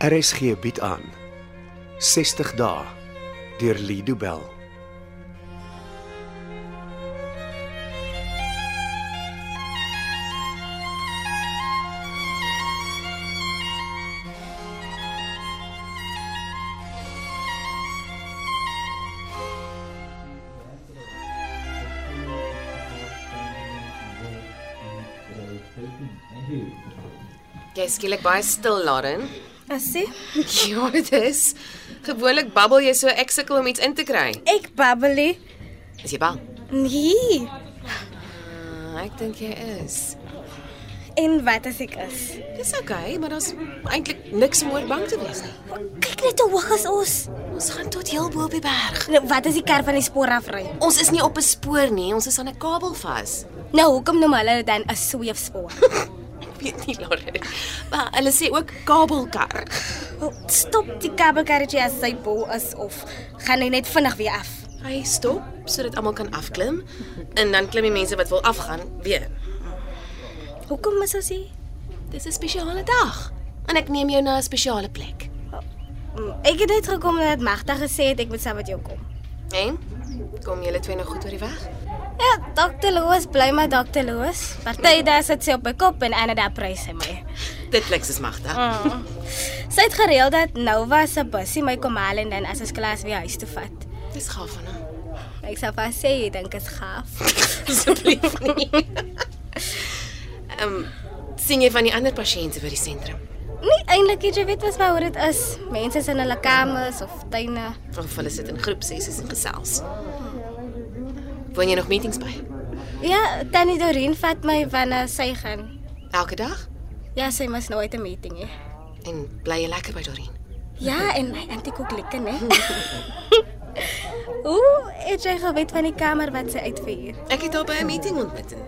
RSG bied aan 60 dae deur Lido Bell. Jy is Ja, skielik baie stil, Lauren. Asse, Ja, dit is. Gewoonlik babbel jy so ek sukkel om iets in te kry. ek babbelie. Is jy bang? Nee. Uh, ek dink jy is. En wat as ek is? Dis oukei, okay, maar daar's eintlik niks om oor bang te wees nie. Kyk net hoe hoog is ons. Ons gaan tot heel bo op die berg. Nou, wat as die kar van die spoor afry? Ons is nie op 'n spoor nie, ons is aan 'n kabel vas. Nou, hoekom noem hulle dit dan 'n sweefspoor? Ek weet nie, Lauren. Maar hulle sê ook kabelkar. Wel, Stop die kabelkarretjie as sy bo is of gaan hy net vinnig weer af? Hy stop sodat almal kan afklim en dan klim die mense wat wil afgaan weer. Hoekom is ons hier? Dis 'n spesiale dag en ek neem jou na 'n spesiale plek. Mm, Ek het net gekom nadat Magda gesê het ek moet saam met jou kom. En kom julle twee nou goed oor die weg? Ja, Dr. Loos bly maar Dr. Loos. Party dae sit sy op my kop en ander dae prys sy my. Dit klink is Magda. Mm. Sy het gereël dat Nova se bussie my kom haal en dan as ons klas weer huis toe vat. Dis gaaf van haar. Ek sou vas sê jy dink dit is gaaf. Asseblief nie. Ehm sien jy van die ander pasiënte by die sentrum Nie eintlik nie, Nee, jy weet mos maar hoe dit is. Mense is in hulle kamers of tuine. of hulle sit in groepsessies en gesels? Woon jy nog meetings by? Ja, Tannie Doreen vat my wanneer sy gaan. Elke dag? Ja, sy mis nooit 'n meeting nie. En bly jy lekker by Dorien? Ja, en my auntie kook lekker, né? Ooh, het jy geweet van die kamer wat sy uitverhuur? Ek het haar by 'n meeting ontmoet en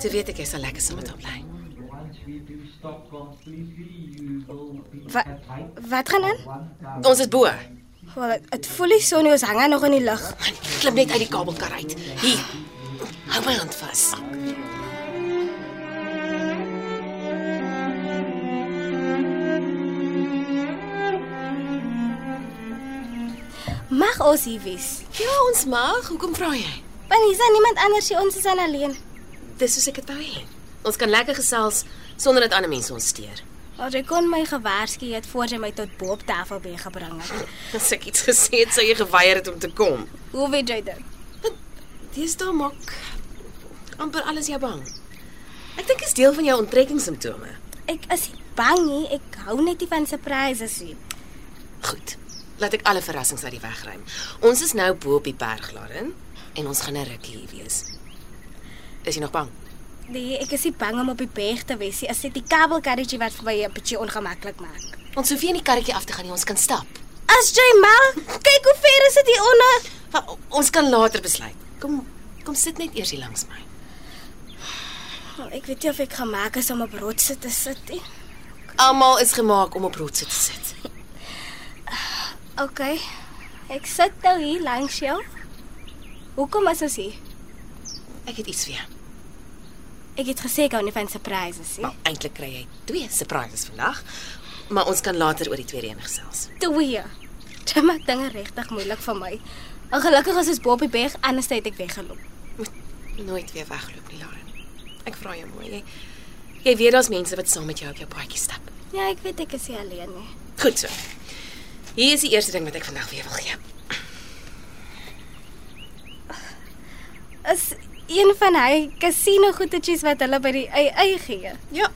toe weet ek jy sal lekker saam met haar bly. Wat wat gaan aan? Ons is bo. Wel, dit voel nie so nie, ons hang nog in die lug. Man, Klim net uit die kabelkar uit. Hier. Hou my hand vas. Mag ons hier wees? Ja, ons mag. Hoekom vra jy? Want hier's niemand anders hier, ons is aan alleen. Dis soos ek dit wou hê. Ons kan lekker gesels sonder dat ander mense ons steur. Maar jy kon my gewaarsku het voor jy my tot bo op tafel by gebring het. As ek iets gesê het, sou jy geweier het om te kom. Hoe weet jy dit? Deesdae maak amper alles jou bang. Ek dink dit is deel van jou onttrekkingssimptome. Ek is nie bang nie, ek hou net nie van surprises nie. Goed. Laat ek alle verrassings uit die weg ruim. Ons is nou bo op die berg, Lauren, en ons gaan 'n ruk hier wees. Is jy nog bang? Nee, ek is nie bang om op die berg te wees nie. Is dit die kabelkarretjie wat vir my 'n bietjie ongemaklik maak? Ons hoef nie in die karretjie af te gaan nie, ons kan stap. As jy mal, kyk hoe ver is dit hier onder. Maar o- ons kan later besluit. Kom, kom sit net eers hier langs my. Oh, ek weet nie of ek gemaak is om op rotse te sit nie. Almal is gemaak om op rotse te sit. OK. Ek sit nou hier langs jou. Hoekom is ons hier? Ek het iets vir jou. Ek het gesê ek hou nie van surprises nie. Maar eintlik kry jy twee surprises vandag, maar ons kan later oor die tweede een gesels. Twee. Dit maak dinge regtig moeilik vir my. En gelukkig is ons bo op die berg, anders het ek weggeloop. Moet nooit weer wegloop nie, Lauren. Ek vra jou mooi, jy jy weet daar's mense wat saam met jou op jou paadjie stap. Ja, ek weet ek is nie alleen nie. Goed so. Hier is die eerste ding wat ek vandag weer wil gee. Is een van hy casino goedetjies wat hulle by die AA gee. Ja.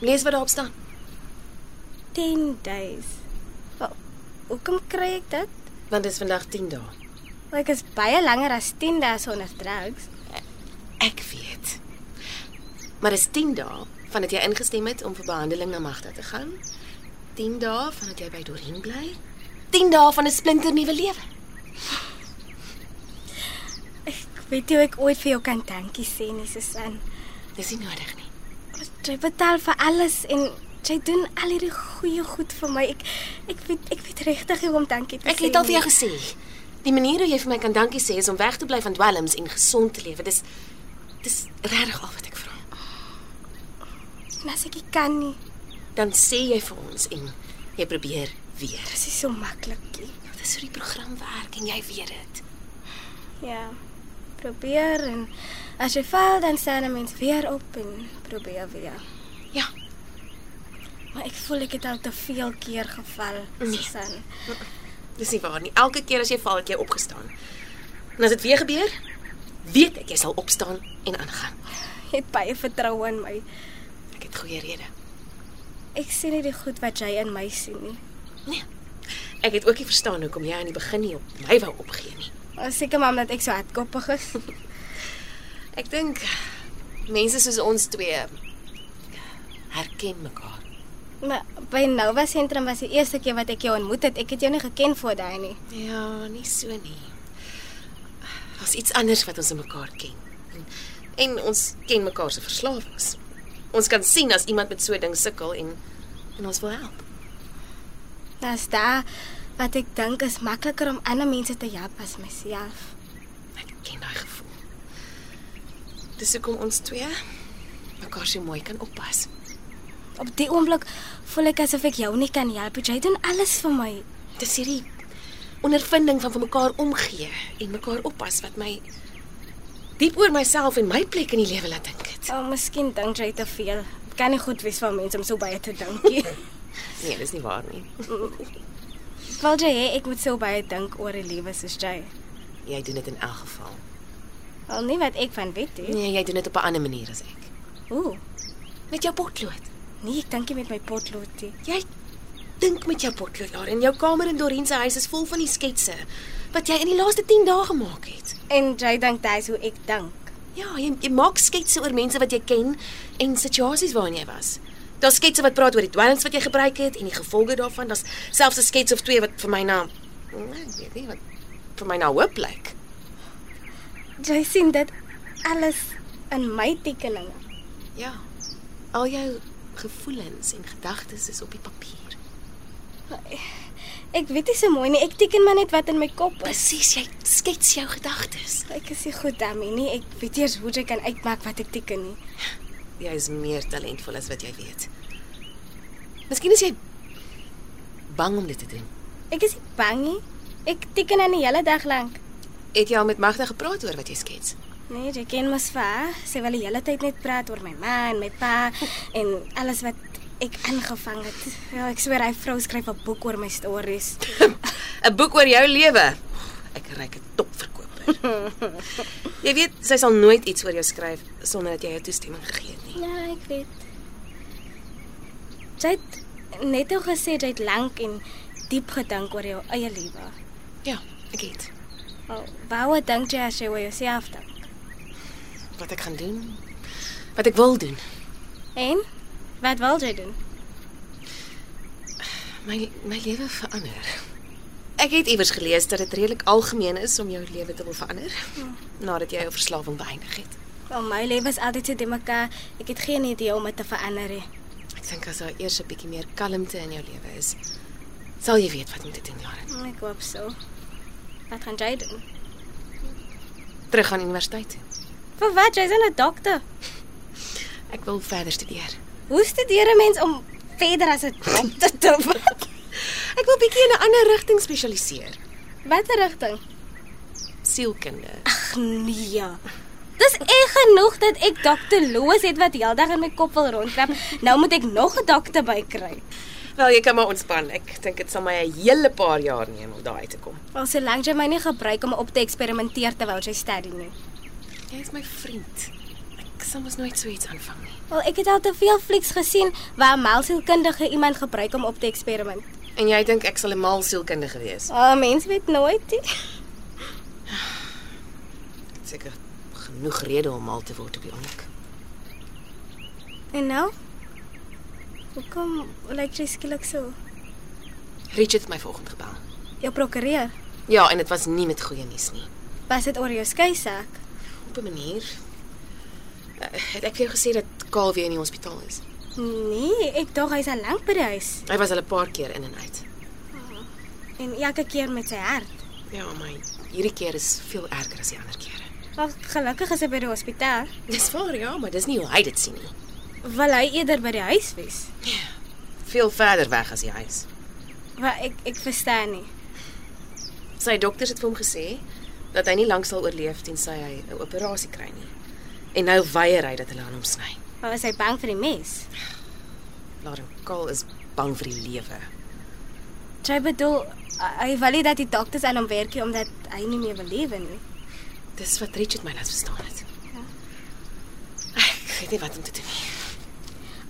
Lees wat daarop staan. 10 days. Wel, hoekom kry ek dit? Want dit is vandag 10 dae. Want Ek is baie langer as 10 dae sonder drugs. Ek weet. Maar dis 10 dae vandat jy ingestem het om vir behandeling na Magda te gaan. 10 dae vandat jy by Dorien bly. 10 dae van 'n splinternuwe lewe. Ek weet jy ek ooit vir jou kan dankie sê nie, Susan. Dis nie nodig nie. Want Jy betaal vir alles en jy doen al hierdie goeie goed vir my. Ek ek weet ek weet regtig nie hoe om dankie te sê. Ek het al vir jou nie. gesê, die manier hoe jy vir my kan dankie sê is om weg te bly van dwelms en gesond te lewe. Dis dis regtig al wat ek vra. en as ek nie kan nie. Dan sê jy vir ons en Jy probeer weer. Dis nie so maklikie. Dit is hoe die program werk en jy weet dit. Ja. Probeer en as jy val dan staan 'n mens weer op en probeer weer. Ja, Maar ek voel ek het al te veel keer geval, Susan. dis nie waar nie. Elke keer as jy val, het jy opgestaan. En as dit weer gebeur, weet ek jy sal opstaan en aangaan. Jy het baie vertroue in my. Ek het goeie redes. Ek sien nie die goed wat jy in my sien nie. Nee. Ek het ook nie verstaan hoekom jy aan die begin nie op my wou opgee nie. Ons seker maar omdat ek so hardkoppig is. Ek dink mense soos ons twee eh, herken mekaar. maar by Nova sentrum was die eerste keer wat ek jou ontmoet het. Ek het jou nie geken voor daai nie. Ja, nie so nie. Daar's iets anders wat ons in mekaar ken. En, en ons ken mekaar se verslawings. Ons kan sien as iemand met so 'n ding sukkel en en ons wil help. Dis Nou daar wat ek dink is makliker om ander mense te help as myself. Ek ken daai gevoel. Dis hoekom ons twee mekaar so mooi kan oppas. Op die oomblik voel ek asof ek jou nie kan help. nie. Jy doen alles vir my. Dis hierdie ondervinding van vir mekaar omgee en mekaar oppas wat my diep oor myself en my plek in die lewe laat dink het. Ou, oh, miskien dink jy te veel. Kan nie goed wees van mense om so baie te dink nie. Nee, dis nie waar nie. Wil jy hê ek moet so baie dink oor 'n lewe soos jy? Jy doen dit in elk geval. Al nie wat ek van weet nie. Nee, jy doen dit op 'n ander manier as ek. Ooh, Met jou potlood. nee, ek dink nie met my potlood nie. Jy dink met jou potlood daar en jou kamer in Dorien se huis is vol van die sketse wat jy in die laaste 10 dae gemaak het. En jy dink dit is hoe ek dink. Ja, jy, jy maak sketse oor mense wat jy ken en situasies waarin jy was. Daar's sketse wat praat oor die dwelms wat jy gebruik het en die gevolge daarvan. Daar's selfs 'n skets of twee wat vir my na nee, ek weet nie wat vir my na hoop lyk. Jy sien dit alles in my tekeninge. Ja. Al jou gevoelens en gedagtes is op die papier. Ek weet nie so mooi nie. Ek teken maar net wat in my kop is. Presies, jy skets jou gedagtes. Ek is nie goed daarmee nie. Ek weet eers hoe jy kan uitmaak wat ek teken nie. Jy is meer talentvol as wat jy weet. Miskien is jy bang om dit te doen. Ek is nie bang nie. Ek teken aan die hele dag lank. Het jy al met Magda gepraat oor wat jy skets? Nee, jy ken mos vir haar. Sy wil die hele tyd net praat oor my man, my pa en alles wat ek aangevang het. Ja, ek swer hy vrou skryf 'n boek oor my stories. 'n boek oor jou lewe. Ek reik 'n topverkoper. jy weet, sy sal nooit iets oor jou skryf sonder dat jy jou toestemming gegee het nie. Ja, ek weet. Jy het net al gesê jy het lank en diep gedink oor jou eie lewe. Ja, ek het. Oh, wou dink jy as jy oor jouself dink? Wat ek gaan doen? Wat ek wil doen? En wat wil jy doen? My my lewe verander. Ek het iewers gelees dat dit redelik algemeen is om jou lewe te wil verander nadat jy jou verslawing beëindig het. Al my lewe is altyd so te mekaar. Ek het geen idee om dit te verander nie. Ek dink as daar eers 'n bietjie meer kalmte in jou lewe is, sal jy weet wat om te doen, Jaren. Mm, Ek hoop so. Wat gaan jy doen? Terug aan universiteit. toe. Vir wat? Jy's 'n dokter. Ek wil verder studeer. Hoe studeer 'n mens om verder as 'n dokter te word? Ek wil bietjie in 'n ander rigting spesialiseer. Watter rigting? Sielkunde. Ag nee. Dis ek genoeg dat ek dokter Loos het wat heeldag in my kop wil rondkrap. Nou moet ek nog 'n dokter bykry. Wel, jy kan maar ontspan. Ek dink dit sal my 'n hele paar jaar neem om daai te kom. Al solank jy my nie gebruik om op te eksperimenteer terwyl jy studie nie. Jy is my vriend. Ek sal mos nooit so iets aanvang nie. Wel, ek het al te veel flieks gesien waar 'n melsielkundige iemand gebruik om op te eksperiment. En jy dink ek sal 'n mal sielkundige wees? O, oh, mens weet nooit. nie. Dit is Seker genoeg rede om mal te word op die oomblik. En nou? Hoekom lyk jy skielik so? Richard het my vanoggend gebel. Jou prokureur, Ja, en dit was nie met goeie nuus nie. was dit oor jou skei saak? Op 'n manier. Eh, Het ek vir jou gesê dat Kaal weer in die hospitaal is? Nee, ek dink hy's al lank by die huis Hy was al 'n paar keer in en uit. en elke keer met sy hart. Ja, maar hierdie keer is veel erger as die ander kere. Maar gelukkig is hy by die hospitaal. Dis waar, ja, maar dis nie hoe hy dit sien nie. Wil hy eerder by die huis wees? Veel Ja. verder weg as die huis. Maar ek ek verstaan nie. Sy dokters het vir hom gesê dat hy nie lank sal oorleef tensy hy 'n operasie kry nie. En nou weier hy dat hulle aan hom sny. Maar was hy bang vir die mes? Laat hom kaal is bang vir die lewe. Jy bedoel hy wil nie dat die dokters aan hom werk nie omdat hy nie meer wil lewe nie. Dis wat Richard my laat verstaan het. Ek weet nie wat om te doen nie.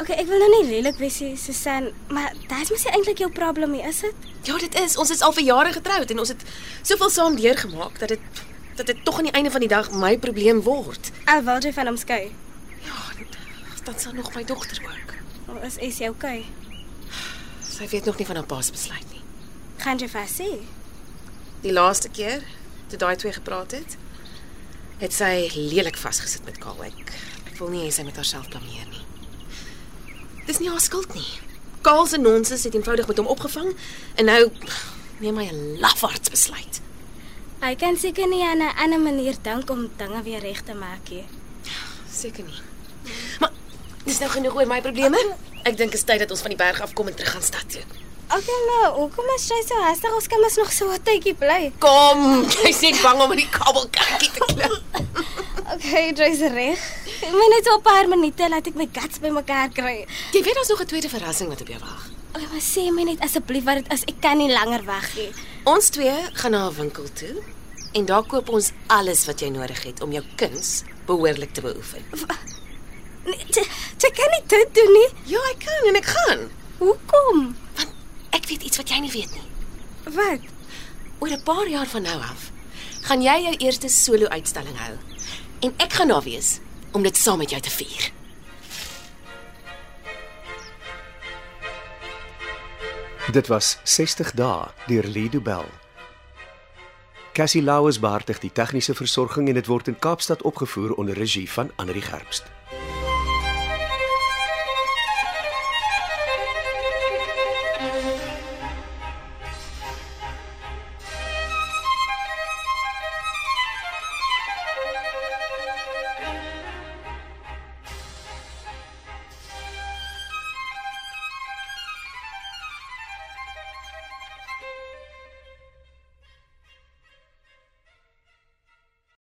Okay, ek wil nou nie lelik wees nie, Susan, maar dit mos nie eintlik jou probleem nie, is dit? Ja, dit is. Ons is al vir jare getroud en ons het soveel saam deurgemaak dat dit dat dit tog aan die einde van die dag my probleem word. Al wil jy van hom skei. Ja, dit- dan sal nog my dogter ook. Maar Is is jy okay? Sy weet nog nie van haar pa se besluit nie. Gaan jy vas sê? Die laaste keer toe daai twee gepraat het, het sy lelik vasgesit met Kaal. Ek ek wil nie hê sy moet haarself blameer nie. Dis nie haar skuld nie. Kaal se nonsens het eenvoudig met hom opgevang en nou neem hy 'n lafaards besluit. Hy kan seker nie aan 'n ander manier dink om dinge weer reg te maak nie. Seker nie. Maar dis nou genoeg oor my probleme. Ek dink dit is tyd dat ons van die berg af kom en terug gaan stad toe. Okay nou, hoekom is jy so haastig? Ons kan mos nog so 'n tydjie bly. Kom, jy sê bang om in die kabelkakkie te klim. Okay, jy's reg. Ek moet net so 'n paar minute laat ek my guts bymekaar kry. Jy weet daar's nog 'n tweede verrassing wat op jou wag. Okay, maar sê my net asseblief wat dit is. Ek kan nie langer wag nie. Ons twee gaan na 'n winkel toe en daar koop ons alles wat jy nodig het om jou kuns behoorlik te beoefen. Nee, Jy jy kan nie dit doen nie. Ja, ek kan en ek gaan, Hoekom? want ek weet iets wat jy nie weet nie. Wat? Oor 'n paar jaar van nou af gaan jy jou eerste solo-uitstalling hou en ek gaan daar wees om dit saam met jou te vier. Dit was 60 dae deur Lido Bell. Cassie Lauers beheer tig die tegniese versorging en dit word in Kaapstad opgevoer onder regie van Anri Gerbst.